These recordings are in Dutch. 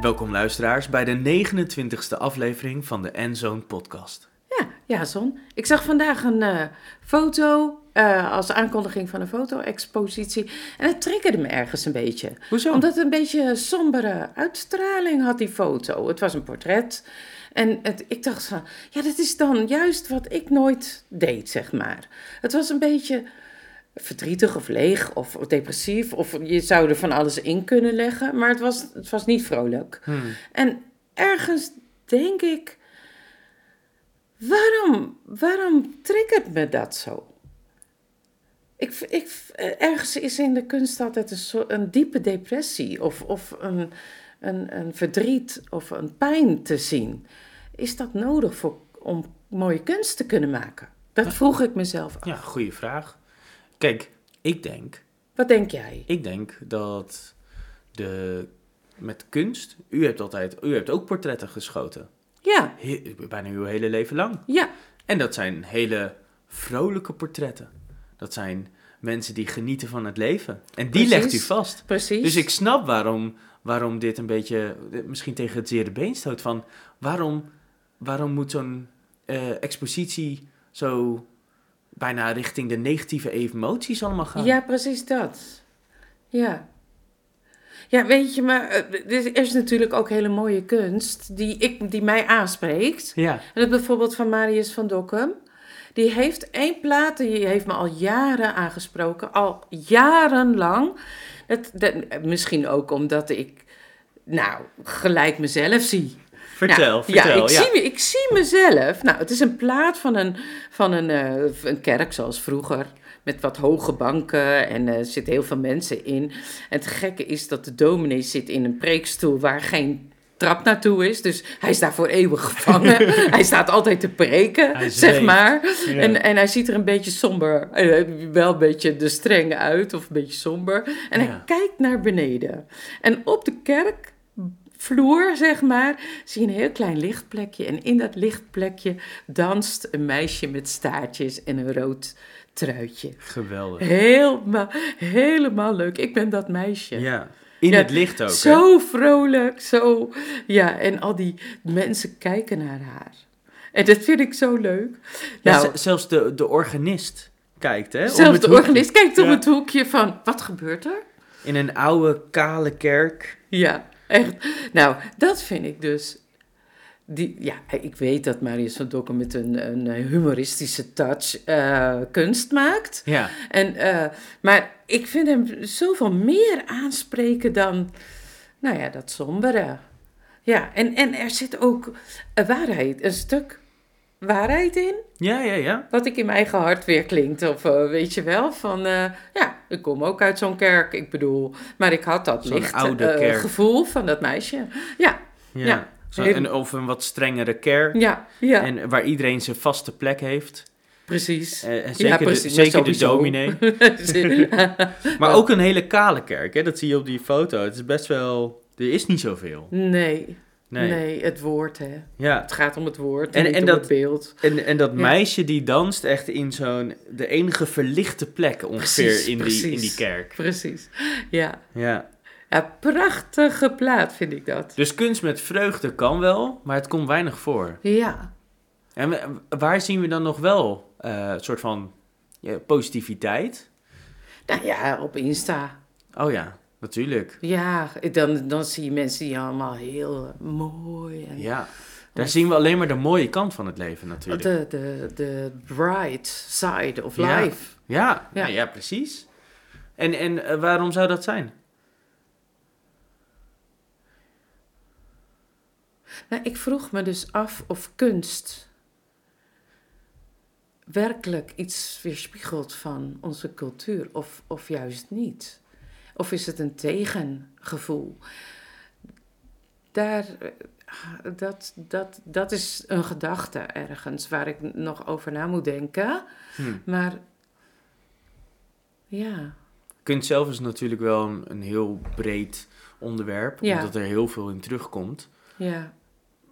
Welkom luisteraars bij de 29e aflevering van de Enzoon podcast. Ja, ja, Son. Ik zag vandaag een eh, foto eh, als aankondiging van een foto-expositie. En het triggerde me ergens een beetje. Hoezo? Omdat het een beetje sombere uitstraling had, die foto. Het was een portret. En het, ik dacht van, ja, dat is dan juist wat ik nooit deed, zeg maar. Het was een beetje verdrietig of leeg of depressief. Of je zou er van alles in kunnen leggen. Maar het was, het was niet vrolijk. En ergens denk ik, waarom, waarom triggert me dat zo? Ik, v- ik, v- eh, ergens is in de kunst altijd een, soort, een diepe depressie of, of een, een, een verdriet of een pijn te zien. Is dat nodig voor, om mooie kunst te kunnen maken? Dat vroeg ik mezelf af. Ja, goede vraag. Kijk, ik denk, Wat denk jij? ik denk dat de, met kunst, u hebt altijd, u hebt ook portretten geschoten. Ja, He- bijna uw hele leven lang. ja, En dat zijn hele vrolijke portretten. Dat zijn mensen die genieten van het leven. En die Precies. legt u vast. precies. Dus ik snap waarom, waarom dit een beetje eh, misschien tegen het zere been stoot. Van waarom, waarom moet zo'n eh, expositie zo bijna richting de negatieve emoties allemaal gaan? Ja, precies dat. Ja. Ja, weet je, maar eh, er is natuurlijk ook hele mooie kunst die, ik, die mij aanspreekt. Ja. En dat bijvoorbeeld van Marius van Dokkum. Die heeft één plaat, die heeft me al jaren aangesproken, al jarenlang. Dat, dat, misschien ook omdat ik, nou, gelijk mezelf zie. Vertel, Nou, vertel. Ja, ik, Zie, me- ik zie mezelf. Nou, het is een plaat van een, van een, eh, een kerk zoals vroeger. Met wat hoge banken en eh, er zitten heel veel mensen in. En het gekke is dat de dominee zit in een preekstoel waar geen trap naartoe is. Dus hij is daar voor eeuwig gevangen. hij staat altijd te Hij preken, zeg zweeft. maar. Ja. En, en hij ziet er een beetje somber, eh, wel een beetje de streng uit of een beetje somber. En hij Ja. kijkt naar beneden. En op de kerkvloer, zeg maar, zie je een heel klein lichtplekje. En in dat lichtplekje danst een meisje met staartjes en een rood truitje. Geweldig. Helemaal, helemaal leuk. Ik ben dat meisje. Ja. In Ja, het licht ook. hè? Zo vrolijk, zo. Ja, en al die mensen kijken naar haar. En dat vind ik zo leuk. Ja, Nou, z- zelfs de, de organist kijkt, hè? om Zelfs het de hoekje. organist kijkt om Ja. het hoekje van, wat gebeurt er? In een oude, kale kerk. Ja, echt. Nou, dat vind ik dus. Die, ja, ik weet dat Marius van Dokken met een, een humoristische touch eh, kunst maakt. Ja. En, eh, maar ik vind hem zoveel meer aanspreken dan, nou ja, dat sombere. Ja, en, en er zit ook een waarheid, een stuk waarheid in. Ja, ja, ja. Wat ik in mijn eigen hart weer klinkt. Of eh, weet je wel, van eh, ja, ik kom ook uit zo'n kerk. Ik bedoel, maar ik had dat Zo'n licht oude eh, kerk. gevoel van dat meisje. Ja, ja. Ja. Zo- en, of een wat strengere kerk. ja, ja, En waar iedereen zijn vaste plek heeft. precies. Eh, en ja, zeker, de, zeker de sowieso. dominee. Maar ook een hele kale kerk, hè? dat zie je op die foto. Het is best wel... Er is niet zoveel. nee, Nee. nee, het woord hè. Ja. Het gaat om het woord En- en, niet en om dat- het beeld. En, en dat Ja. meisje die danst echt in zo'n... De enige verlichte plek ongeveer Precies, in, die, in die precies. kerk. Precies, ja. Ja. ja. Prachtige plaat vind ik dat. Dus kunst met vreugde kan wel, maar het komt weinig voor. Ja, En we- waar zien we dan nog wel eh, een soort van ja, positiviteit? nou ja, op Insta. Oh ja, natuurlijk. Ja, dan, dan zie je mensen die allemaal heel eh, mooi en Ja. Daar zien we alleen maar de mooie kant van het leven natuurlijk. De, de, de bright side of Ja. life. Ja, Ja. nou ja, precies. En, en eh, waarom zou dat zijn? Nou, ik vroeg me dus af of kunst werkelijk iets weerspiegelt van onze cultuur of, of juist niet. Of is het een tegengevoel? Daar, eh, dat, dat, dat is een gedachte ergens waar ik nog over na moet denken. Hm. Maar ja, Kunst zelf is natuurlijk wel een, een heel breed onderwerp, Ja. omdat er heel veel in terugkomt. ja.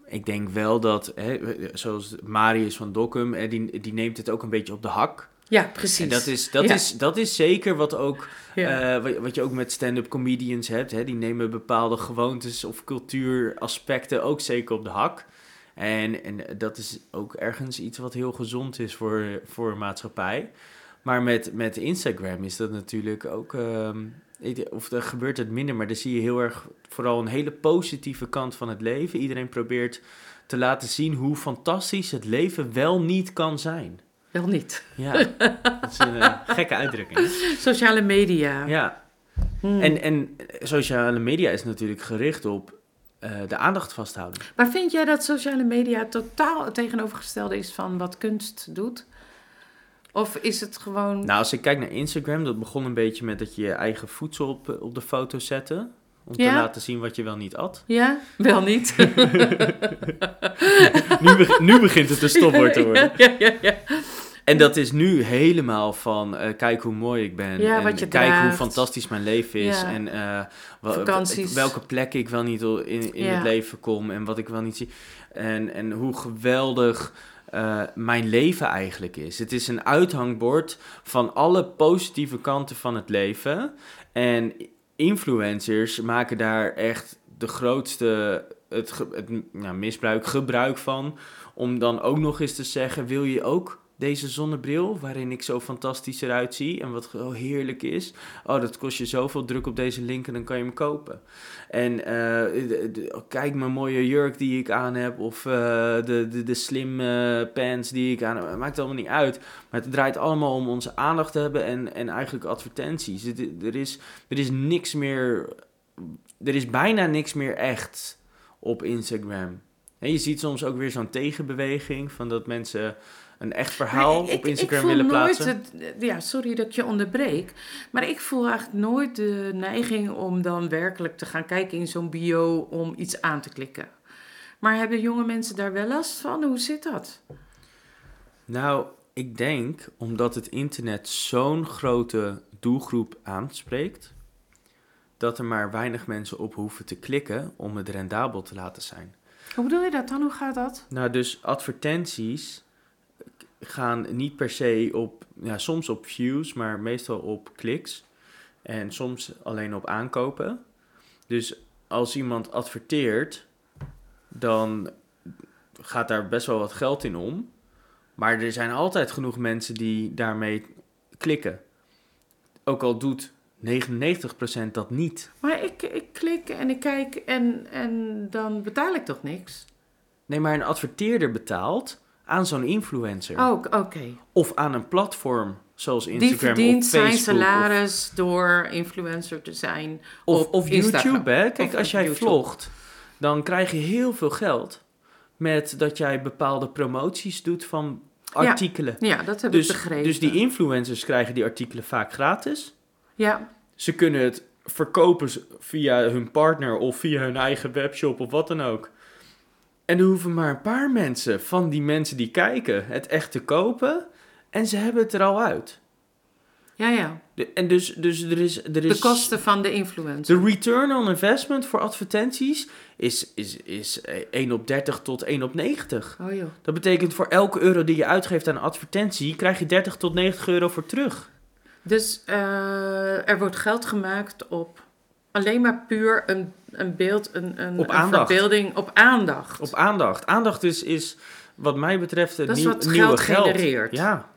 En ik denk wel dat, hè, zoals Marius van Dokkum, hè, die, die neemt het ook een beetje op de hak. Ja, precies. En dat is, dat, Ja. is, dat is zeker wat, ook, Ja. eh, wat, wat je ook met stand-up comedians hebt. Hè? Die nemen bepaalde gewoontes of cultuuraspecten ook zeker op de hak. En, en dat is ook ergens iets wat heel gezond is voor, voor een maatschappij. Maar met, met Instagram is dat natuurlijk ook. ehm, ik- of daar gebeurt het minder, maar daar zie je heel erg vooral een hele positieve kant van het leven. Iedereen probeert te laten zien hoe fantastisch het leven wel niet kan zijn. Wel niet. Ja, dat is een eh, gekke uitdrukking. Sociale media. Ja, Hmm. en, en eh, sociale media is natuurlijk gericht op eh, de aandacht vasthouden. Maar vind jij dat sociale media totaal het tegenovergestelde is van wat kunst doet? Of is het gewoon... Nou, als ik kijk naar Instagram, dat begon een beetje met dat je je eigen voedsel op, eh, op de foto zette. Om te Ja. laten zien wat je wel niet at. Ja, wel niet. Nu, beg- nu begint het een stopwoord te worden. Ja, ja, ja. En dat is nu helemaal van, eh, kijk hoe mooi ik ben. Ja, en wat je kijk hoe draagt. fantastisch mijn leven is. Ja. En eh, wa- Vakanties. wa- welke plekken ik wel niet in, in Ja. het leven kom. En wat ik wel niet zie. En, en hoe geweldig eh, mijn leven eigenlijk is. Het is een uithangbord van alle positieve kanten van het leven. En influencers maken daar echt de grootste het, ge- het nou, misbruik, gebruik van. Om dan ook nog eens te zeggen: wil je ook deze zonnebril, waarin ik zo fantastisch eruit zie en wat heel heerlijk is? Oh, dat kost je zoveel druk op deze link en dan kan je hem kopen. En eh, d- d- kijk mijn mooie jurk die ik aan heb, of eh, de, de, de slim eh, pants die ik aan heb. Het maakt allemaal niet uit. Maar het draait allemaal om onze aandacht te hebben en, en eigenlijk advertenties. Het- er, is, er is niks meer. Er is bijna niks meer echt op Instagram. En je ziet soms ook weer zo'n tegenbeweging van dat mensen een echt verhaal Maar ik- op Instagram ik voel willen nooit plaatsen. het- ja, sorry dat ik je onderbreek. Maar ik voel eigenlijk nooit de neiging om dan werkelijk te gaan kijken in zo'n bio om iets aan te klikken. Maar hebben jonge mensen daar wel last van? Hoe zit dat? Nou, ik denk omdat het internet zo'n grote doelgroep aanspreekt, dat er maar weinig mensen op hoeven te klikken om het rendabel te laten zijn. Hoe bedoel je dat dan? Hoe gaat dat? Nou, dus advertenties gaan niet per se op, ja, soms op views, maar meestal op kliks. En soms alleen op aankopen. Dus als iemand adverteert, dan gaat daar best wel wat geld in om. Maar er zijn altijd genoeg mensen die daarmee klikken. Ook al doet 99% dat niet. Maar ik, ik klik en ik kijk en, en dan betaal ik toch niks? Nee, maar een adverteerder betaalt aan zo'n influencer. Oh, oké. of aan een platform zoals Die Instagram verdient of zijn Facebook salaris door influencer te zijn. of, of, op of Instagram. YouTube. Hè? Kijk, Of als op jij YouTube. vlogt, dan krijg je heel veel geld met dat jij bepaalde promoties doet van Ja, artikelen. Ja, dat heb ik dus, begrepen. dus die influencers krijgen die artikelen vaak gratis. Ja, Ze kunnen het verkopen z- via hun partner of via hun eigen webshop of wat dan ook. En er hoeven maar een paar mensen van die mensen die kijken het echt te kopen. En ze hebben het er al uit. ja, ja. De- en dus, dus er is... Er is De kosten van de influencer. De return on investment voor advertenties is, is, is eh, 1 op 30 tot 1 op 90. Oh joh. Dat betekent voor elke euro die je uitgeeft aan advertentie, krijg je 30 tot 90 euro voor terug. Dus eh, er wordt geld gemaakt op alleen maar puur een, een beeld, een, een, Op een aandacht. verbeelding op aandacht. Op aandacht. Aandacht is, is wat mij betreft het Dat is nieuw- wat nieuwe geld geld. genereert. Ja.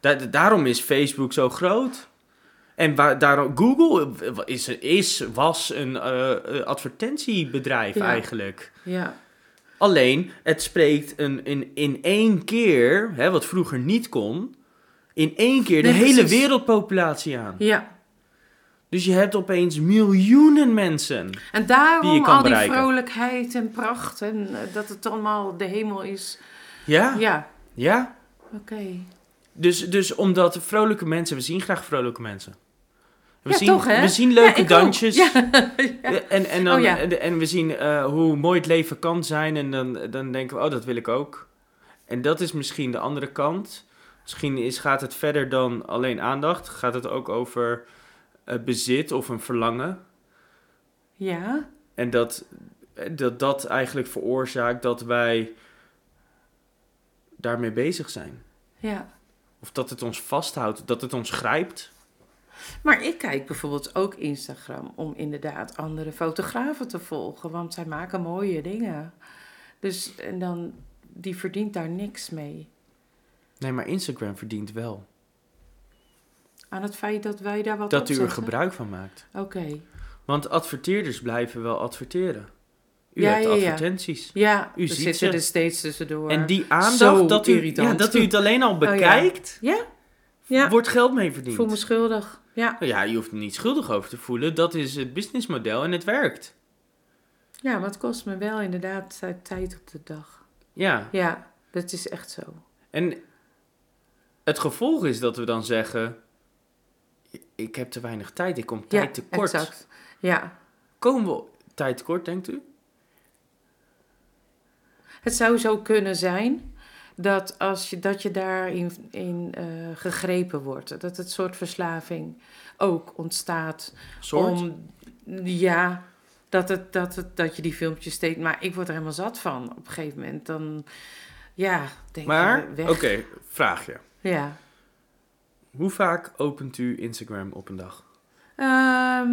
Da- da- daarom is Facebook zo groot. En waar, daarom, Google eh, is, is, was een eh, eh, advertentiebedrijf Ja. eigenlijk. Ja. Alleen, het spreekt een, in, in één keer, hè, wat vroeger niet kon, in één keer de Nee, hele precies. wereldpopulatie aan. ja. Dus je hebt opeens miljoenen mensen. En Die je daarom kan al die bereiken. vrolijkheid en pracht en eh, dat het allemaal de hemel is. Ja, ja. Ja, oké. Dus, dus omdat vrolijke mensen, we zien graag vrolijke mensen. We, Ja, zien, toch, hè? we zien Ja, leuke ik ook. dansjes. Ja. Eh, En, en, dan, Oh, ja. en, en we zien eh, hoe mooi het leven kan zijn. En dan, dan denken we, oh, dat wil ik ook. En dat is misschien de andere kant. Misschien is, gaat het verder dan alleen aandacht. Gaat het ook over eh, bezit of een verlangen. Ja, En dat, eh, eh, dat dat eigenlijk veroorzaakt dat wij daarmee bezig zijn. ja. Of dat het ons vasthoudt, dat het ons grijpt. Maar ik kijk bijvoorbeeld ook Instagram om inderdaad andere fotografen te volgen, want zij maken mooie dingen. Dus en dan, die verdient daar niks mee. Nee, maar Instagram verdient wel. Aan het feit dat wij daar wat dat op u er zetten? gebruik van maakt. Oké. Want adverteerders blijven wel adverteren. U Ja, hebt ja, ja. advertenties. Ja, U we ziet zitten ze. er steeds tussendoor. En die aandacht Zo dat, u, irritant. Oh, ja, dat u het alleen al bekijkt, Ja, ja. wordt geld mee ik verdiend. Nou voel me schuldig. Ja. Ja, je hoeft er niet schuldig over te voelen. Dat is het businessmodel en het werkt. ja, maar het kost me wel inderdaad eh, tijd op de dag. Ja, Ja, dat is echt zo. en het gevolg is dat we dan zeggen... "Ik- Ik heb te weinig tijd, ik kom tijd ja, tekort. exact. Ja, Komen we tijd tekort, denkt u? Het zou zo kunnen zijn dat, als je, dat je daarin in, eh, gegrepen wordt. Dat het soort verslaving ook ontstaat. Soort? Om, ja, dat, het, dat, het, dat je die filmpjes steeds... Maar ik word er helemaal zat van op een gegeven moment. Dan, ja, denk maar, je, oké, weg. vraagje. Ja. Hoe vaak opent u Instagram op een dag? Ehm,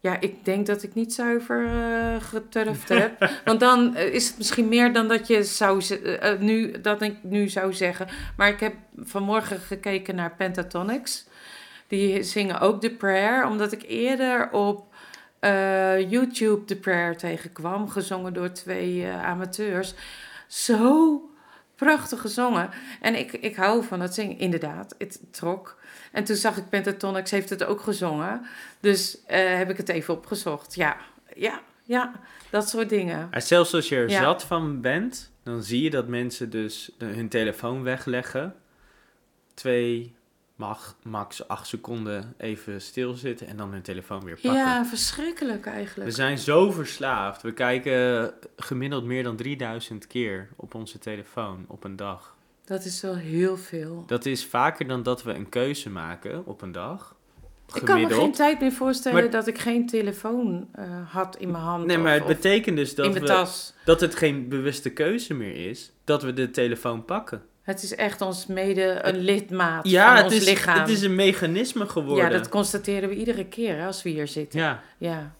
ja, ik denk dat ik niet zuiver eh, geturfd heb. Want dan eh, is het misschien meer dan dat je zou ze- eh, eh, nu, dat ik nu zou zeggen. Maar ik heb vanmorgen gekeken naar Pentatonics. Die zingen ook The Prayer, omdat ik eerder op eh, YouTube The Prayer tegenkwam, gezongen door twee eh, amateurs. Zo prachtig gezongen. En ik, ik hou van dat zingen, inderdaad. Het trok. En toen zag ik Pentatonics heeft het ook gezongen. Dus eh, heb ik het even opgezocht. Ja, ja, ja. Dat soort dingen. En zelfs als je er Ja. zat van bent, dan zie je dat mensen dus de- hun telefoon wegleggen. Twee, mag, max acht seconden even stilzitten en dan hun telefoon weer pakken. Ja, verschrikkelijk eigenlijk. We zijn zo verslaafd. We kijken gemiddeld meer dan 3000 keer op onze telefoon op een dag. Dat is wel heel veel. Dat is vaker dan dat we een keuze maken op een dag. Ik kan me geen Gemiddeld. tijd meer voorstellen Maar- dat ik geen telefoon eh, had in mijn hand. Nee, of- maar het of betekent dus in dat, mijn we, tas. dat het geen bewuste keuze meer is. Dat we de telefoon pakken. Het is echt ons mede een lidmaat Ja, van het ons is, lichaam. het is een mechanisme geworden. ja, dat constateren we iedere keer hè, als we hier zitten. Ja. ja.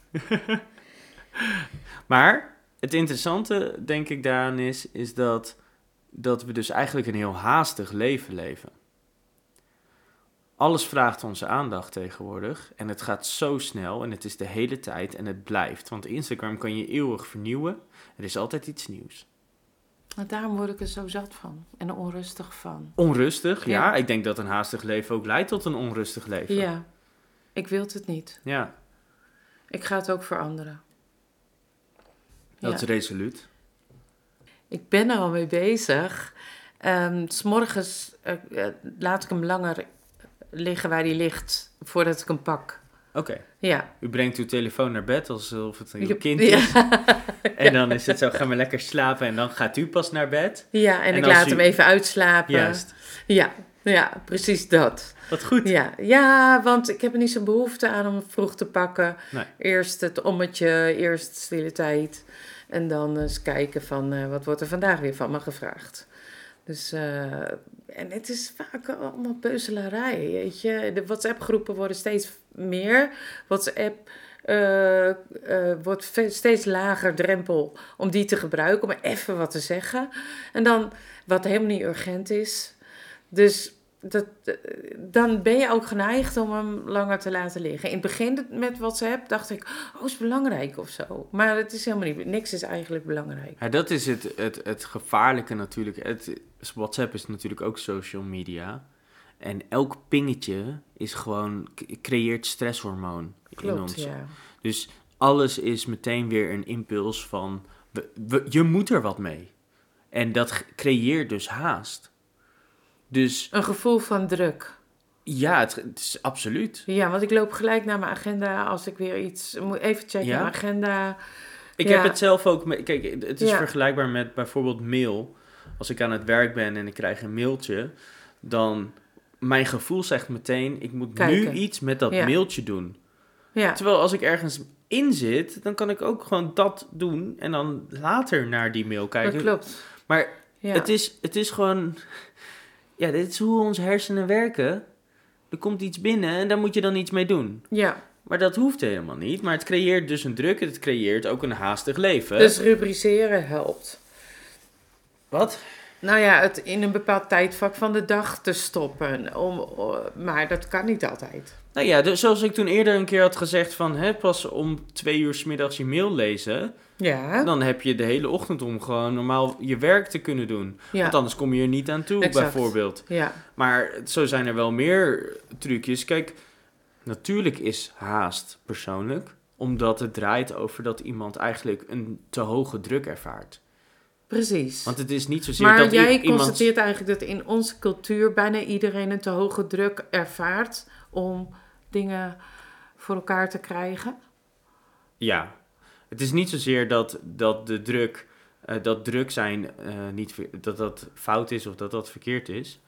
Maar het interessante, denk ik, daaraan is, is dat, dat we dus eigenlijk een heel haastig leven leven. Alles vraagt onze aandacht tegenwoordig en het gaat zo snel en het is de hele tijd en het blijft. Want Instagram kan je eeuwig vernieuwen, er is altijd iets nieuws. Want daarom word ik er zo zat van en onrustig van. Onrustig, ja. Ja. Ik denk dat een haastig leven ook leidt tot een onrustig leven. Ja, ik wil het niet. ja Ik ga het ook veranderen. dat Ja. is resoluut. Ik ben er al mee bezig. Ehm, s S'morgens laat ik hem langer liggen waar hij ligt voordat ik hem pak. Oké, Ja. u brengt uw telefoon naar bed alsof het uw Je- kind ja. is. En dan is het zo, ga maar lekker slapen en dan gaat u pas naar bed. Ja, en, En ik als laat u- hem even uitslapen. Juist. Ja, ja, precies dat. Wat goed. Ja, ja, want ik heb er niet zo'n behoefte aan om hem vroeg te pakken. Nee. Eerst het ommetje, eerst stille tijd. En dan eens kijken van eh, wat wordt er vandaag weer van me gevraagd. Dus, eh, en het is vaak allemaal beuzelarij, weet je. De WhatsApp-groepen worden steeds meer. WhatsApp eh, eh, wordt ve- steeds lager drempel om die te gebruiken, om even wat te zeggen. En dan, wat helemaal niet urgent is. Dus dat, eh, dan ben je ook geneigd om hem langer te laten liggen. In het begin met WhatsApp dacht ik, oh, is belangrijk of zo. Maar het is helemaal niet, niks is eigenlijk belangrijk. Ja, dat is het, het, het gevaarlijke natuurlijk. Het, WhatsApp is natuurlijk ook social media. En elk pingetje is gewoon, c- creëert stresshormoon in Klopt, ons. ja. Dus alles is meteen weer een impuls van, we, we- je moet er wat mee. En dat g- creëert dus haast. Dus Een gevoel van druk. ja, het, het is absoluut. Ja, want ik loop gelijk naar mijn agenda als ik weer iets... Moet even checken Ja? mijn agenda. Ik Ja. heb het zelf ook. met- Kijk, het is Ja. vergelijkbaar met bijvoorbeeld mail. Als ik aan het werk ben en ik krijg een mailtje, dan mijn gevoel zegt meteen: ik moet nu Kijken. iets met dat Ja. mailtje doen. Ja, Terwijl als ik ergens in zit, dan kan ik ook gewoon dat doen en dan later naar die mail kijken. dat klopt. Maar Ja. het, is, het is gewoon. Ja, dit is hoe onze hersenen werken. Er komt iets binnen en daar moet je dan iets mee doen. ja. Maar dat hoeft helemaal niet. Maar het creëert dus een druk en het creëert ook een haastig leven. Dus rubriceren helpt. wat? Nou ja, het in een bepaald tijdvak van de dag te stoppen. Om, o- maar dat kan niet altijd. Nou ja, dus zoals ik toen eerder een keer had gezegd van... Hè, pas om twee uur 's middags je mail lezen... Ja, dan heb je de hele ochtend om gewoon normaal je werk te kunnen doen. ja, Want anders kom je er niet aan toe, Exact. bijvoorbeeld. ja, Maar zo zijn er wel meer trucjes. Kijk, natuurlijk is haast persoonlijk, omdat het draait over dat iemand eigenlijk een te hoge druk ervaart. precies. Want het is niet zozeer Maar dat i- jij iemand. constateert eigenlijk dat in onze cultuur bijna iedereen een te hoge druk ervaart om dingen voor elkaar te krijgen. Ja, het is niet zozeer dat, dat de druk, eh, dat druk zijn eh, niet, ver- dat dat fout is of dat dat verkeerd is.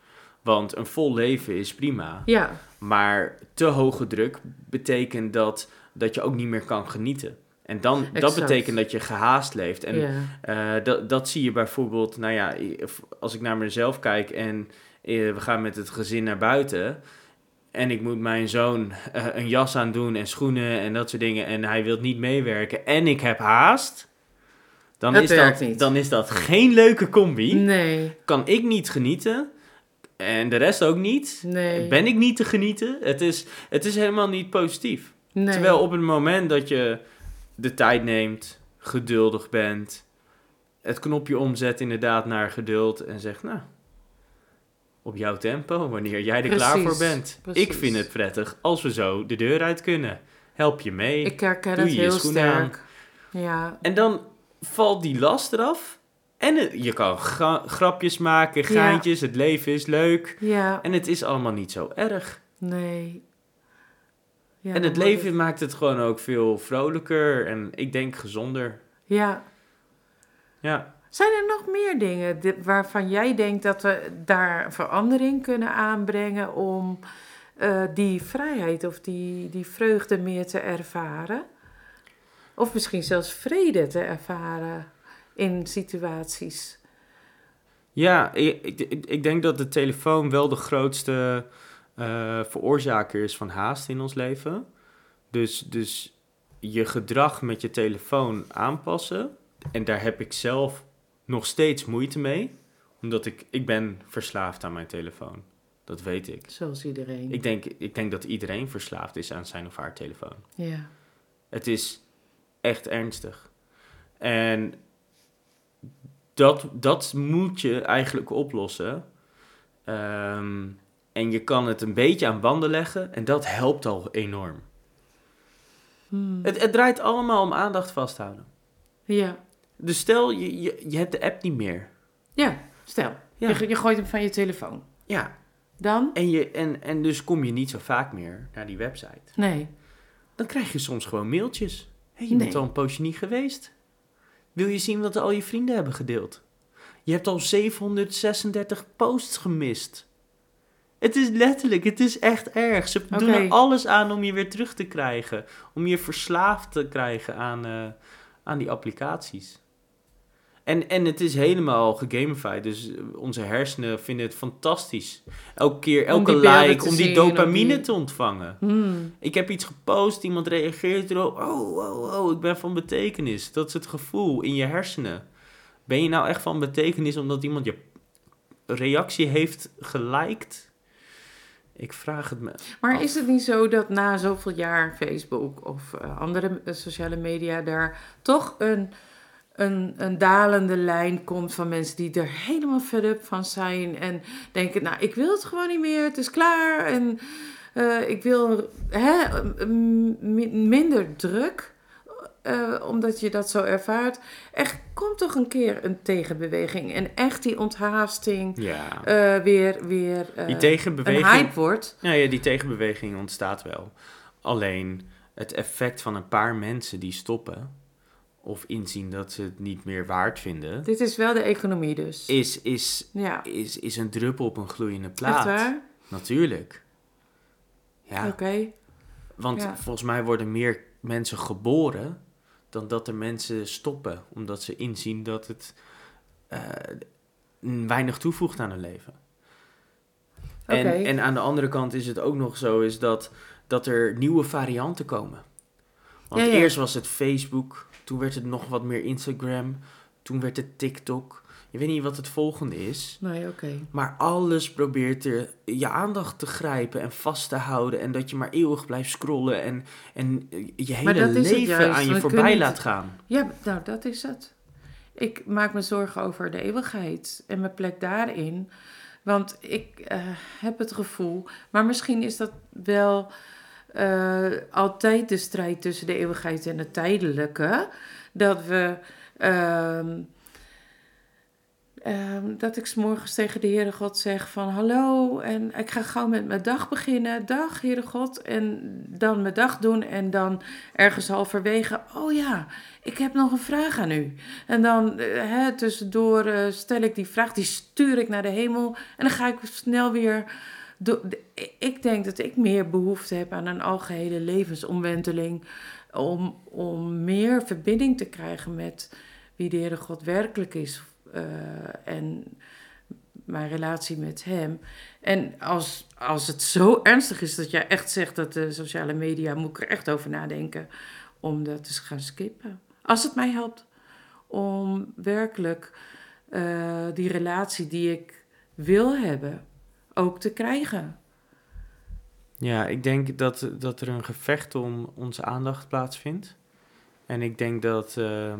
Want een vol leven is prima. Ja, Maar te hoge druk betekent dat, dat je ook niet meer kan genieten. En dan, dat Exact. betekent dat je gehaast leeft. En ja. Eh, dat, dat zie je bijvoorbeeld, nou ja, if- als ik naar mezelf kijk en eh, we gaan met het gezin naar buiten. En ik moet mijn zoon eh, een jas aandoen en schoenen en dat soort dingen. En hij wil niet meewerken en ik heb haast. Dan Het is, werkt dat, niet. dan is dat geen leuke combi. Nee, Kan ik niet genieten en de rest ook niet. nee. Ben ik niet te genieten? Het is, het is helemaal niet positief. nee. Terwijl op het moment dat je de tijd neemt, geduldig bent, het knopje omzet inderdaad naar geduld en zegt, nou, op jouw tempo, wanneer jij er klaar Precies, voor bent. Ik precies. vind het prettig als we zo de deur uit kunnen. Help je mee. Ik herken Doe het je je heel schoenen aan. sterk. Ja, En dan valt die last eraf. En het- je kan gra- grapjes maken, Ja. geintjes, het leven is leuk. ja, En het is allemaal niet zo erg. nee. Ja, en dan het wordt leven maakt het gewoon ook veel vrolijker en ik denk gezonder. Ja. Ja. Zijn er nog meer dingen di- waarvan jij denkt dat we daar verandering kunnen aanbrengen om eh, die vrijheid of die, die vreugde meer te ervaren? Of misschien zelfs vrede te ervaren in situaties. Ja, ik, ik, ik- ik denk dat de telefoon wel de grootste eh, veroorzaker is van haast in ons leven. Dus, dus je gedrag met je telefoon aanpassen. En daar heb ik zelf nog steeds moeite mee. Omdat ik, ik ben verslaafd aan mijn telefoon. Dat weet ik. Zoals iedereen. Ik denk, ik denk dat iedereen verslaafd is aan zijn of haar telefoon. Ja. Het is echt ernstig. En dat, dat moet je eigenlijk oplossen. Ehm, en je kan het een beetje aan banden leggen en dat helpt al enorm. Hmm. Het, het draait allemaal om aandacht vasthouden. Ja. Dus stel, je, je, je hebt de app niet meer. ja, stel. Ja. Je, je gooit hem van je telefoon. Ja, Dan? en, je, en, en dus kom je niet zo vaak meer naar die website. Nee. Dan krijg je soms gewoon mailtjes. Hé, je bent Nee. al een poosje niet geweest. Wil je zien wat al je vrienden hebben gedeeld? Je hebt al 736 posts gemist. Het is letterlijk, het is echt erg. Ze doen er Oké. alles aan om je weer terug te krijgen. Om je verslaafd te krijgen aan, eh, aan die applicaties. En, en het is helemaal gegamified. Dus eh, onze hersenen vinden het fantastisch. Elke keer, Om elke die beelden like, te om die zien, om dopamine die- te ontvangen. Hmm. Ik heb iets gepost, iemand reageert erop. Oh, oh, oh, ik ben van betekenis. Dat is het gevoel in je hersenen. Ben je nou echt van betekenis omdat iemand je reactie heeft geliked? Ik vraag het me. Maar af. is het niet zo dat na zoveel jaar Facebook of eh, andere eh, sociale media daar toch een, een, een dalende lijn komt van mensen die er helemaal fed up van zijn en denken, nou ik wil het gewoon niet meer, het is klaar en eh, ik wil hè, m- m- minder druk. eh, omdat je dat zo ervaart. Echt, komt toch een keer een tegenbeweging. En echt die onthaasting Ja. eh, weer, weer eh, Die een tegenbeweging. hype wordt. Nou ja, die tegenbeweging ontstaat wel. Alleen het effect van een paar mensen die stoppen of inzien dat ze het niet meer waard vinden, Dit is wel de economie dus. is, is, Ja, is, is een druppel op een gloeiende plaat. echt waar? Natuurlijk. Ja, Oké. want Ja. volgens mij worden meer mensen geboren dan dat er mensen stoppen. Omdat ze inzien dat het eh, weinig toevoegt aan hun leven. En, Oké. en aan de andere kant is het ook nog zo is dat, dat er nieuwe varianten komen. Want Ja, ja. eerst was het Facebook, toen werd het nog wat meer Instagram, toen werd het TikTok. Je weet niet wat het volgende is. Nee, oké. Maar alles probeert er je aandacht te grijpen en vast te houden. En dat je maar eeuwig blijft scrollen en, en je hele dat is het leven juist, aan je want voorbij kun je niet- laat gaan. Ja, nou, dat is het. Ik maak me zorgen over de eeuwigheid en mijn plek daarin. Want ik eh, heb het gevoel, maar misschien is dat wel eh, altijd de strijd tussen de eeuwigheid en het tijdelijke. Dat we. ehm, ehm, dat ik 's morgens tegen de Heere God zeg van hallo en ik ga gauw met mijn dag beginnen. Dag Heere God en dan mijn dag doen en dan ergens halverwege. Oh ja, ik heb nog een vraag aan u. En dan eh, hè, tussendoor eh, stel ik die vraag, die stuur ik naar de hemel en dan ga ik snel weer... do- de- ik- Ik denk dat ik meer behoefte heb aan een algehele levensomwenteling. Om, om meer verbinding te krijgen met wie de Heere God werkelijk is. eh, en mijn relatie met hem. En als, als het zo ernstig is dat jij echt zegt dat de sociale media... moet ik er echt over nadenken om dat te gaan skippen. Als het mij helpt om werkelijk eh, die relatie die ik wil hebben ook te krijgen. Ja, ik denk dat, dat er een gevecht om onze aandacht plaatsvindt. En ik denk dat... ehm,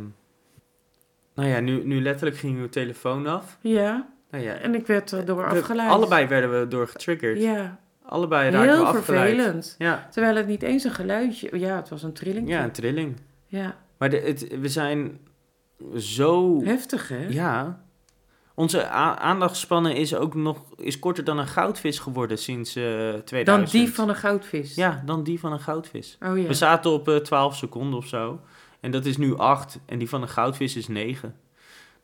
nou ja, nu, nu letterlijk ging uw telefoon af. Ja, Nou ja, en ik werd er door we- afgeleid. allebei werden we door getriggerd. Ja, Allebei raakten we heel afgeleid. vervelend. Ja, Terwijl het niet eens een geluidje... Ja, het was een trilling. ja, een trilling. ja. Maar de, het, we zijn zo heftig hè? Ja. Onze a- aandachtspannen is ook nog is korter dan een goudvis geworden sinds eh 2000. Dan die van een goudvis. Ja, dan die van een goudvis. Oh ja. We zaten op eh 12 seconden of zo. En dat is nu 8. En die van een goudvis is 9.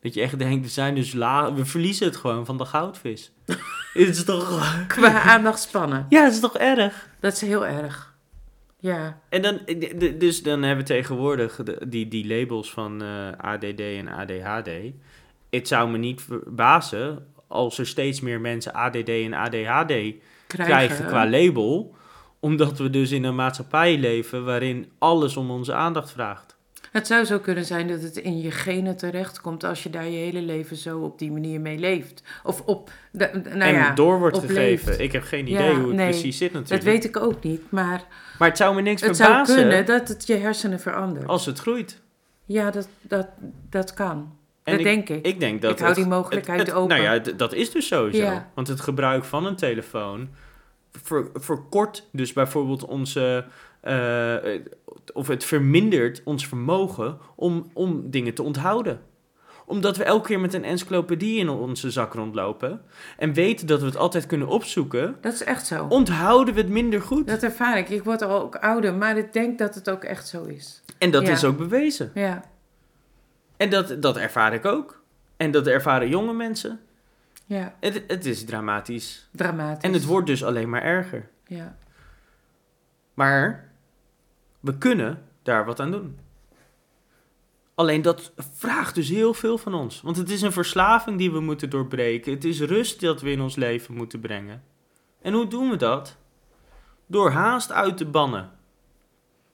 Dat je echt denkt, we zijn dus la We verliezen het gewoon van de goudvis. het is toch... Qua aandacht spannen. Ja, het is toch erg? Dat is heel erg. Ja. En dan, eh, d- d- dus dan hebben we tegenwoordig de- die, die labels van eh, ADD en ADHD. Het zou me niet verbazen als er steeds meer mensen ADD en ADHD krijgen, Krijgen. qua label. Omdat we dus in een maatschappij leven waarin alles om onze aandacht vraagt. Het zou zo kunnen zijn dat het in je genen terechtkomt als je daar je hele leven zo op die manier mee leeft. Of op, da- nou en ja, door wordt op gegeven. leeft. Ik heb geen Ja, idee hoe het nee, precies zit dat natuurlijk. weet ik ook niet, maar Maar het zou me niks het zou verbazen Oh. kunnen dat het je hersenen verandert. als het groeit. Ja, dat, dat, dat kan. En dat ik- denk ik. Ik denk dat Ik hou die het- mogelijkheid het- het- open. Nou ja, d- dat is dus sowieso. Ja. Want het gebruik van een telefoon ver- verkort dus bijvoorbeeld onze... eh, of het vermindert ons vermogen om, om dingen te onthouden. Omdat we elke keer met een encyclopedie in onze zak rondlopen... en weten dat we het altijd kunnen opzoeken... Dat is echt zo. Oh. onthouden we het minder goed. Dat ervaar ik. Ik word al ook ouder, maar ik denk dat het ook echt zo is. en dat ja. is ook bewezen. Ja. En dat, dat ervaar ik ook. En dat ervaren jonge mensen. Ja, Het, het is dramatisch. dramatisch. En het wordt dus alleen maar erger. Ja. Maar we kunnen daar wat aan doen. Alleen dat vraagt dus heel veel van ons. Want het is een verslaving die we moeten doorbreken. Het is rust dat we in ons leven moeten brengen. En hoe doen we dat? Door haast uit te bannen.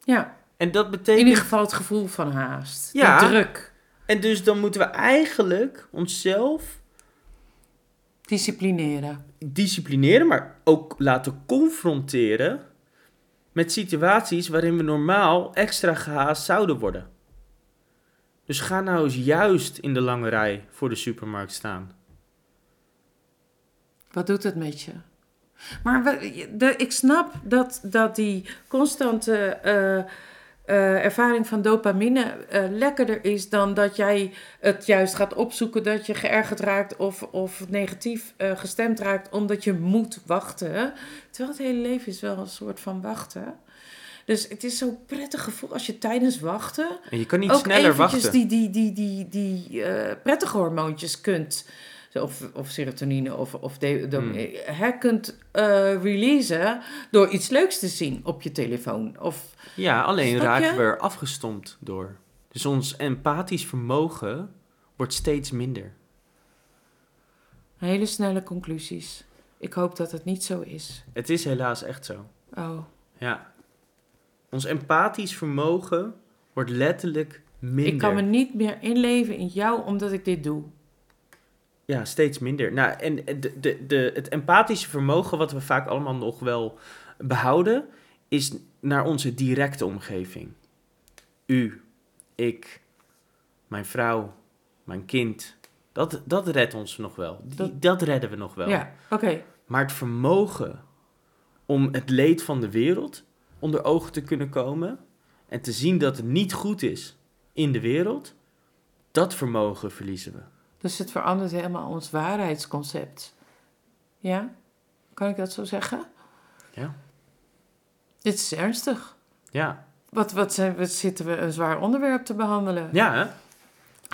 ja, En dat in betekent. ieder geval het gevoel van haast. Ja. Die druk. En dus dan moeten we eigenlijk onszelf Disciplineren. disciplineren, maar ook laten confronteren met situaties waarin we normaal extra gehaast zouden worden. Dus ga nou eens juist in de lange rij voor de supermarkt staan. Wat doet het met je? Maar we- de- ik snap dat, dat die constante eh, eh, ervaring van dopamine eh, lekkerder is dan dat jij het juist gaat opzoeken dat je geërgerd raakt of, of negatief eh, gestemd raakt omdat je moet wachten. Terwijl het hele leven is wel een soort van wachten. Dus het is zo'n prettig gevoel als je tijdens wachten En je kan niet ook sneller eventjes wachten. die, die, die, die, die eh, prettige hormoontjes kunt zo of, of serotonine of, of de, de- Hmm. hè, kunt eh, releasen door iets leuks te zien op je telefoon. Of Ja, alleen Snap je? raken we er afgestompt door. Dus ons empathisch vermogen wordt steeds minder. hele snelle conclusies. Ik hoop dat het niet zo is. Het is helaas echt zo. Oh, Ja. Ons empathisch vermogen wordt letterlijk minder. ik kan me niet meer inleven in jou omdat ik dit doe. Ja, steeds minder. Nou, en de, de, de, het empathische vermogen wat we vaak allemaal nog wel behouden, is naar onze directe omgeving. U, ik, mijn vrouw, mijn kind. Dat, dat redt ons nog wel. Die- Dat- dat, redden we nog wel. Ja, oké. Maar het vermogen om het leed van de wereld onder ogen te kunnen komen en te zien dat het niet goed is in de wereld, dat vermogen verliezen we. Dus het verandert helemaal ons waarheidsconcept. Ja? Kan ik dat zo zeggen? Ja. Dit is ernstig. Ja, Wat, wat, zijn, wat zitten we een zwaar onderwerp te behandelen? ja hè?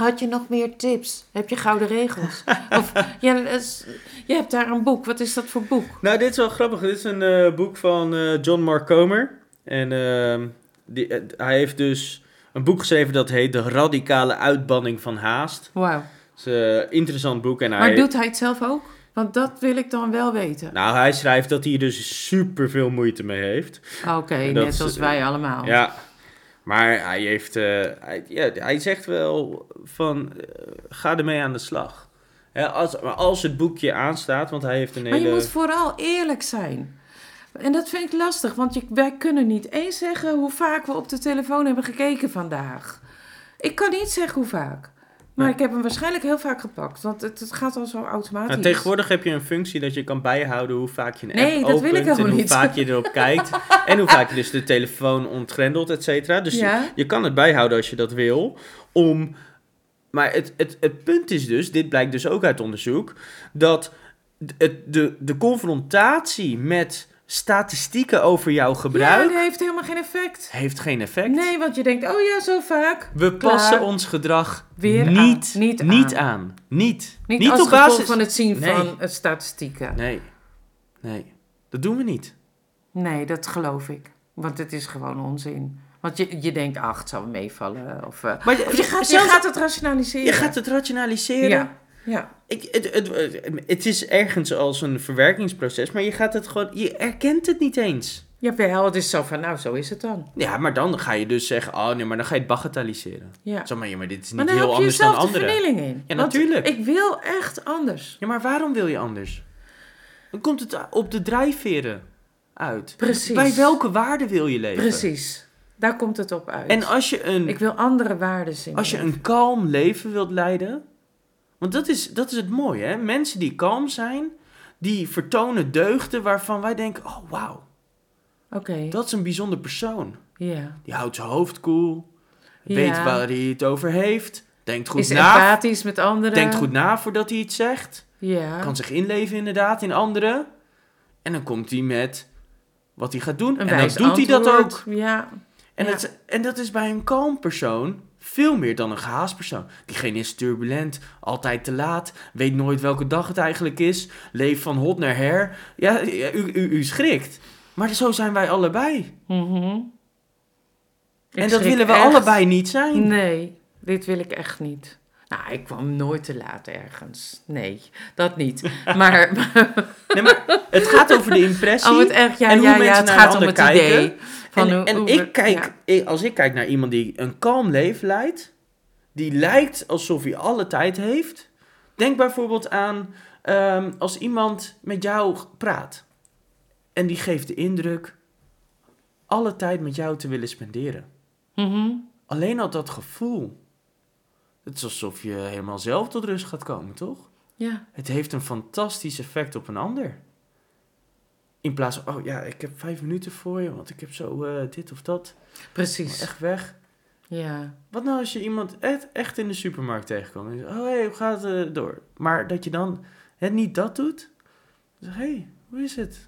Had je nog meer tips? Heb je gouden regels? of ja, dat is- je hebt daar een boek. Wat is dat voor boek? Nou, dit is wel grappig. Dit is een eh, boek van eh, John Mark Comer. En ehm, die, eh, hij heeft dus een boek geschreven dat heet De Radicale Uitbanning van Haast. Wauw. Het is een interessant boek. En hij, Maar doet hij het zelf ook? Want dat wil ik dan wel weten. Nou, hij schrijft dat hij er dus super veel moeite mee heeft. Oké, dat net is- eh, als wij allemaal. Ja. Maar hij heeft... eh, hij, ja, hij zegt wel van... eh, ga ermee aan de slag. Hè, als, maar als het boekje aanstaat, want hij heeft een Maar hele... je moet vooral eerlijk zijn. En dat vind ik lastig, want je- wij kunnen niet eens zeggen hoe vaak we op de telefoon hebben gekeken vandaag. Ik kan niet zeggen hoe vaak. Maar Nee. ik heb hem waarschijnlijk heel vaak gepakt, want het, het gaat al zo automatisch. Nou, tegenwoordig heb je een functie dat je kan bijhouden hoe vaak je een Nee, app dat wil opent ik en helemaal hoe niet. vaak je erop kijkt. en hoe vaak je dus de telefoon ontgrendelt, et cetera. Dus Ja. je, je kan het bijhouden als je dat wil. Om... Maar het, het, het punt is dus, dit blijkt dus ook uit onderzoek, dat d- het, de, de confrontatie met statistieken over jouw Ja, gebruik dat heeft helemaal geen effect. heeft geen effect. Nee, want je denkt, oh ja, zo vaak. We Klaar. passen ons gedrag Weer aan. niet, Niet Niet, aan. aan. Niet, Niet, als op gevolg basis van het zien Nee. van eh, statistieken. Nee, nee. Dat doen we niet. Nee, dat geloof ik. Want het is gewoon onzin. Want je, je denkt, ach, het zal wel meevallen. Of, eh, Maar je, of je, gaat, je zelfs- gaat het rationaliseren. je gaat het rationaliseren. Ja, ja. Ik, het, het, het is ergens als een verwerkingsproces, maar je gaat het gewoon... Je erkent het niet eens. Jawel, het is zo van, nou, zo is het dan. Ja, maar dan ga je dus zeggen... Oh nee, maar dan ga je het bagatelliseren. Ja. Zo, maar, ja, maar dit is Maar niet dan heb heel je anders dan jezelf de anderen. vernieling in. Ja, Want natuurlijk. ik wil echt anders. Ja, maar waarom wil je anders? Dan komt het op de drijfveren uit. Precies. Bij welke waarde wil je leven? Precies. Daar komt het op uit. En als je een... ik wil andere waarden zien. Als je een kalm leven wilt leiden. Want dat is, dat is het mooie, hè? Mensen die kalm zijn, die vertonen deugden waarvan wij denken: oh wauw, Oké, dat is een bijzonder persoon. ja. Die houdt zijn hoofd koel, Ja. weet waar hij het over heeft, denkt goed is na. empathisch met anderen. Denkt goed na voordat hij iets zegt. Ja. Kan zich inleven, inderdaad, in anderen. En dan komt hij met wat hij gaat doen. Een en dan wijs doet hij dat antwoord. ook. Ja. En, Ja. het, en dat is bij een kalm persoon veel meer dan een gehaast persoon. Diegene is turbulent, altijd te laat, weet nooit welke dag het eigenlijk is, leeft van hot naar her. Ja, ja, u, u, u schrikt. Maar zo zijn wij allebei. Mhm. Ik en dat schrik willen we echt. allebei niet zijn. Nee, dit wil ik echt niet. Nou, ik kwam nooit te laat ergens. Nee, dat niet. Maar, Nee, maar het gaat over de impressie. oh, het echt, ja, en hoe ja, ja, mensen het naar gaat een om het ander kijken. idee. Van en hoe- en hoe we- ik kijk, ja. ik- als ik kijk naar iemand die een kalm leven leidt, die lijkt alsof hij alle tijd heeft. Denk bijvoorbeeld aan ehm, als iemand met jou praat en die geeft de indruk alle tijd met jou te willen spenderen. Mhm. Alleen al dat gevoel. Het is alsof je helemaal zelf tot rust gaat komen, toch? Ja, Het heeft een fantastisch effect op een ander. In plaats van, oh ja, ik heb vijf minuten voor je, want ik heb zo eh, dit of dat. precies. Echt weg. Ja. Wat nou als je iemand echt, echt in de supermarkt tegenkomt? En je zegt, oh hé, hey, hoe gaat het eh, door? Maar dat je dan het niet dat doet. Dan zeg hé, hey, hoe is het?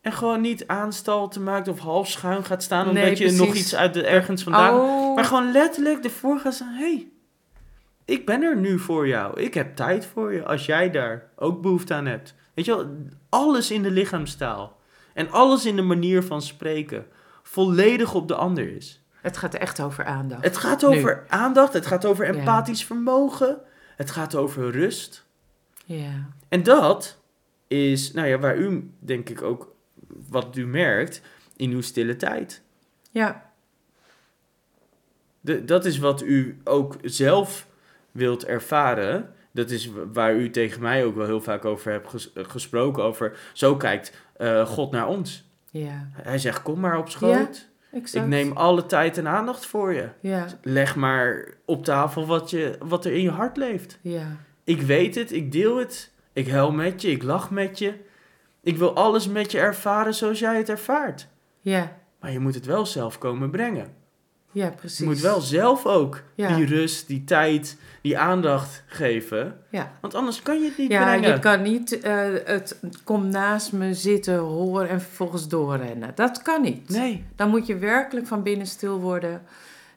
En gewoon niet aanstal te maken of half schuin gaat staan... omdat Nee, je nog precies. iets uit de, ergens vandaan... oh, Maar gewoon letterlijk ervoor gaat staan... hé, hey, ik ben er nu voor jou. Ik heb tijd voor je als jij daar ook behoefte aan hebt. Weet je wel, alles in de lichaamstaal en alles in de manier van spreken volledig op de ander is. Het gaat echt over aandacht. Het gaat over aandacht, het gaat over empathisch vermogen, het gaat over rust. Ja. En dat is, nou ja, waar u denk ik ook wat u merkt in uw stille tijd. Ja. De, dat is wat u ook zelf wilt ervaren. Dat is wa- waar u tegen mij ook wel heel vaak over hebt ges- eh, gesproken. Over zo kijkt eh, God naar ons. Ja. Hij zegt: Kom maar op schoot. Exact. Ik neem alle tijd en aandacht voor je. Ja. Leg maar op tafel wat, je, wat er in je hart leeft. Ja. Ik weet het, ik deel het. Ik huil met je, ik lach met je. Ik wil alles met je ervaren zoals jij het ervaart. Ja. Maar je moet het wel zelf komen brengen. Ja, precies. Je moet wel zelf ook Ja. die rust, die tijd, die aandacht geven. Ja. Want anders kan je het niet Ja, brengen. je kan niet eh, het kom naast me zitten, horen en vervolgens doorrennen. Dat kan niet. Nee, Dan moet je werkelijk van binnen stil worden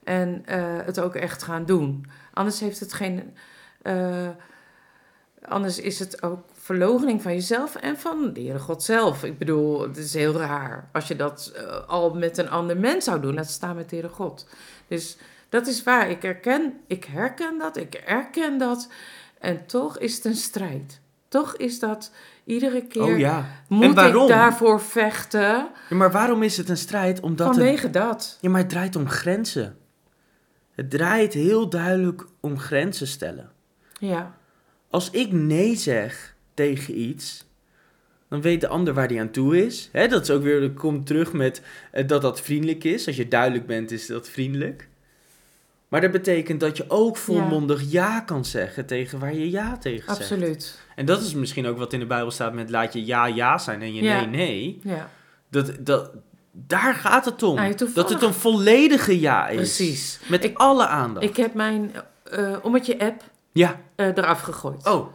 en eh, het ook echt gaan doen. Anders heeft het geen. eh, anders is het ook verloochening van jezelf en van de Heere God zelf. Ik bedoel, het is heel raar als je dat eh, al met een ander mens zou doen. Laat staan met de Heere God. Dus dat is waar. Ik herken, ik herken dat, ik erken dat. En toch is het een strijd. Toch is dat iedere keer. oh ja. en Moet waarom? ik daarvoor vechten? Ja, maar waarom is het een strijd? Omdat het... vanwege dat. Ja, maar het draait om grenzen. Het draait heel duidelijk om grenzen stellen. Ja, Als ik nee zeg tegen iets, dan weet de ander waar die aan toe is. Hè, dat is ook weer, dat komt terug met eh, dat dat vriendelijk is. Als je duidelijk bent, is dat vriendelijk. Maar dat betekent dat je ook volmondig ja, kan zeggen tegen waar je ja tegen zegt. absoluut. En dat is misschien ook wat in de Bijbel staat met laat je ja ja zijn en je Ja. nee nee. Ja, Dat, dat, daar gaat het om. Nou, je dat toevallig- het een volledige ja is. precies. Met Ik- alle aandacht. Ik heb mijn eh ommetje app Ja. eh, eraf gegooid. Oh,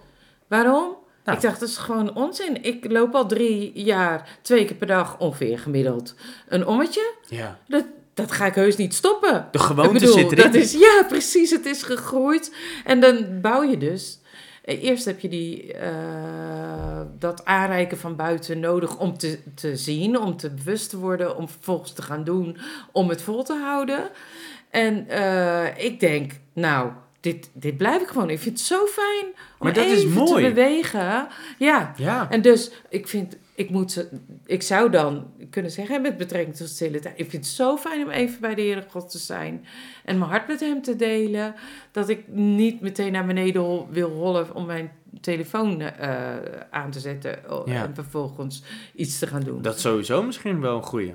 Waarom? Nou. Ik dacht, dat is gewoon onzin. Ik loop al drie jaar, twee keer per dag ongeveer gemiddeld, een ommetje. ja. Dat, dat ga ik heus niet stoppen. De gewoonte ik bedoel, zit erin. Dat is, ja, precies. Het is gegroeid. En dan bouw je dus. eh, Eerst heb je die, eh, dat aanreiken van buiten nodig om te, te zien, om te bewust te worden, om vervolgens te gaan doen, om het vol te houden. En eh, ik denk, nou, dit, dit blijf ik gewoon. Ik vind het zo fijn om Maar dat is even mooi. te bewegen. Ja, Ja. en dus, ik vind, ik moet ze, ik zou dan kunnen zeggen, met betrekking tot stille tijd, ik vind het zo fijn om even bij de Heere God te zijn en mijn hart met Hem te delen, dat ik niet meteen naar beneden hol- wil hollen om mijn telefoon eh, aan te zetten o- Ja. en vervolgens iets te gaan doen. Dat is sowieso misschien wel een goeie.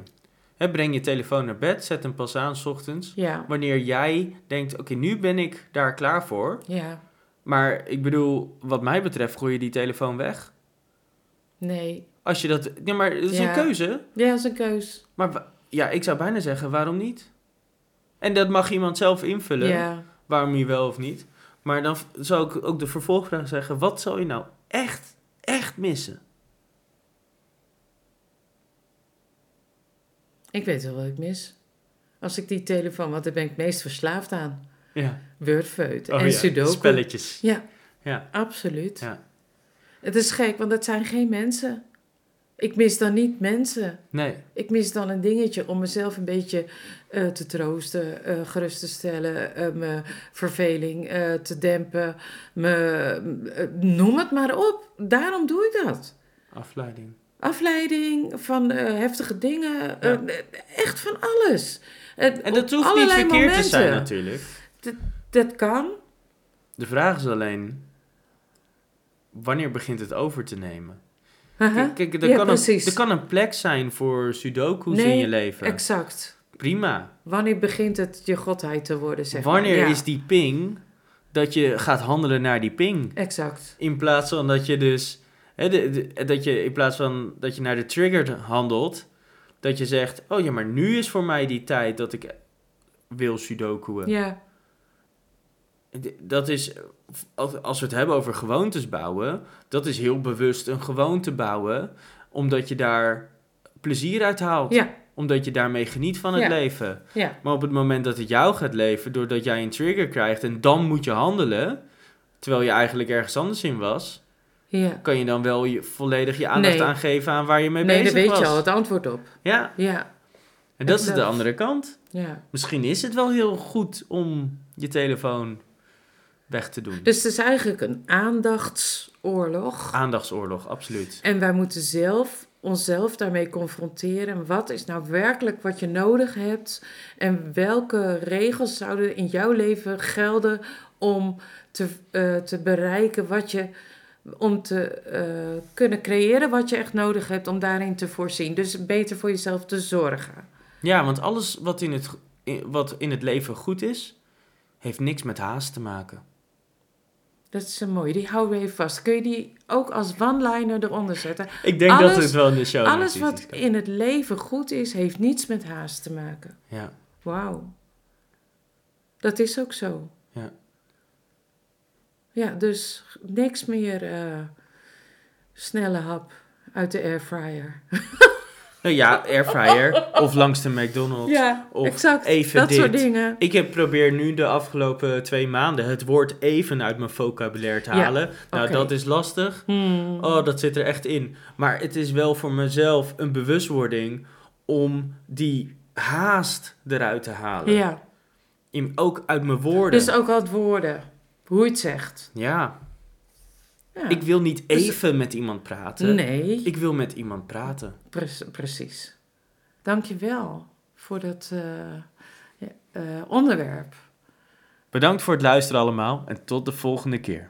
Hè, breng je telefoon naar bed, zet hem pas aan 's ochtends. Ja, Wanneer jij denkt, oké, nu ben ik daar klaar voor. ja, Maar ik bedoel, wat mij betreft, gooi je die telefoon weg. nee. Als je dat... Ja, maar dat is Ja. een keuze. Ja, dat is een keus. Maar wa- ja, ik zou bijna zeggen, waarom niet? En dat mag iemand zelf invullen, Ja, waarom je wel of niet. Maar dan v- zou ik ook de vervolgvraag zeggen, wat zou je nou echt, echt missen? ik weet wel wat ik mis. Als ik die telefoon, want daar ben ik het meest verslaafd aan. Ja. Wordfeut Oh en ja, sudoku. Spelletjes. Ja. Ja. Absoluut. Ja. Het is gek, want dat zijn geen mensen. Ik mis dan niet mensen. Nee. Ik mis dan een dingetje om mezelf een beetje eh, te troosten, eh, gerust te stellen, eh, mijn verveling eh, te dempen. Me, eh, noem het maar op. Daarom doe ik dat. Afleiding. Afleiding van eh, heftige dingen, eh, echt van alles. Eh, En dat hoeft niet verkeerd te zijn natuurlijk. Dat kan. De vraag is alleen, wanneer begint het over te nemen? Haha. Kijk, kijk, er, Ja, kan een, precies. er kan een plek zijn voor sudoku's in Nee, je leven. Exact. Prima. Wanneer begint het je godheid te worden, zeg maar? Wanneer Ja, is die ping dat je gaat handelen naar die ping? Exact. In plaats van dat je dus, hè, de- de- dat je, in plaats van dat je naar de trigger handelt, dat je zegt, oh ja, maar nu is voor mij die tijd dat ik wil sudokuën. Ja, D- Dat is, als als we het hebben over gewoontes bouwen, dat is heel bewust een gewoonte bouwen, omdat je daar plezier uit haalt. ja Omdat je daarmee geniet van het Ja. leven. Ja. Maar op het moment dat het jou gaat leven, doordat jij een trigger krijgt en dan moet je handelen, terwijl je eigenlijk ergens anders in was, Ja. kan je dan wel je, volledig je aandacht Nee. aangeven aan waar je mee Nee, daar bezig weet was. je al het antwoord op. Ja, Ja. en dat is de Exact. andere kant. ja. Misschien is het wel heel goed om je telefoon weg te doen. Dus het is eigenlijk een aandachtsoorlog. Aandachtsoorlog, absoluut. En wij moeten zelf onszelf daarmee confronteren. Wat is nou werkelijk wat je nodig hebt? En welke regels zouden in jouw leven gelden om te, eh, te bereiken wat je. Om te eh, kunnen creëren wat je echt nodig hebt om daarin te voorzien. Dus beter voor jezelf te zorgen. Ja, want alles wat in het, go- in- wat in het leven goed is, heeft niks met haast te maken. Dat is een mooie. Die houden we even vast. Kun je die ook als one-liner eronder zetten? Ik denk dat Alles- het wel in de show Alles notes wat is. in het leven goed is, heeft niets met haast te maken. Ja, Wauw. Dat is ook zo. Ja. Ja, dus niks meer eh, snelle hap uit de airfryer. nou ja, airfryer of langs de McDonald's. Ja, of exact. even dat dit. soort dingen. Ik heb probeer nu de afgelopen twee maanden het woord even uit mijn vocabulaire te Ja, halen. nou, oké. dat is lastig. Hmm. Oh, dat zit er echt in. Maar het is wel voor mezelf een bewustwording om die haast eruit te halen. Ja, In, ook uit mijn woorden. dus ook al het woorden. Hoe je het zegt. Ja, Ja. ik wil niet Dus- even met iemand praten. nee, Ik wil met iemand praten. Pre- precies. Dank je wel voor dat eh, ja, eh, onderwerp. Bedankt voor het luisteren allemaal en tot de volgende keer.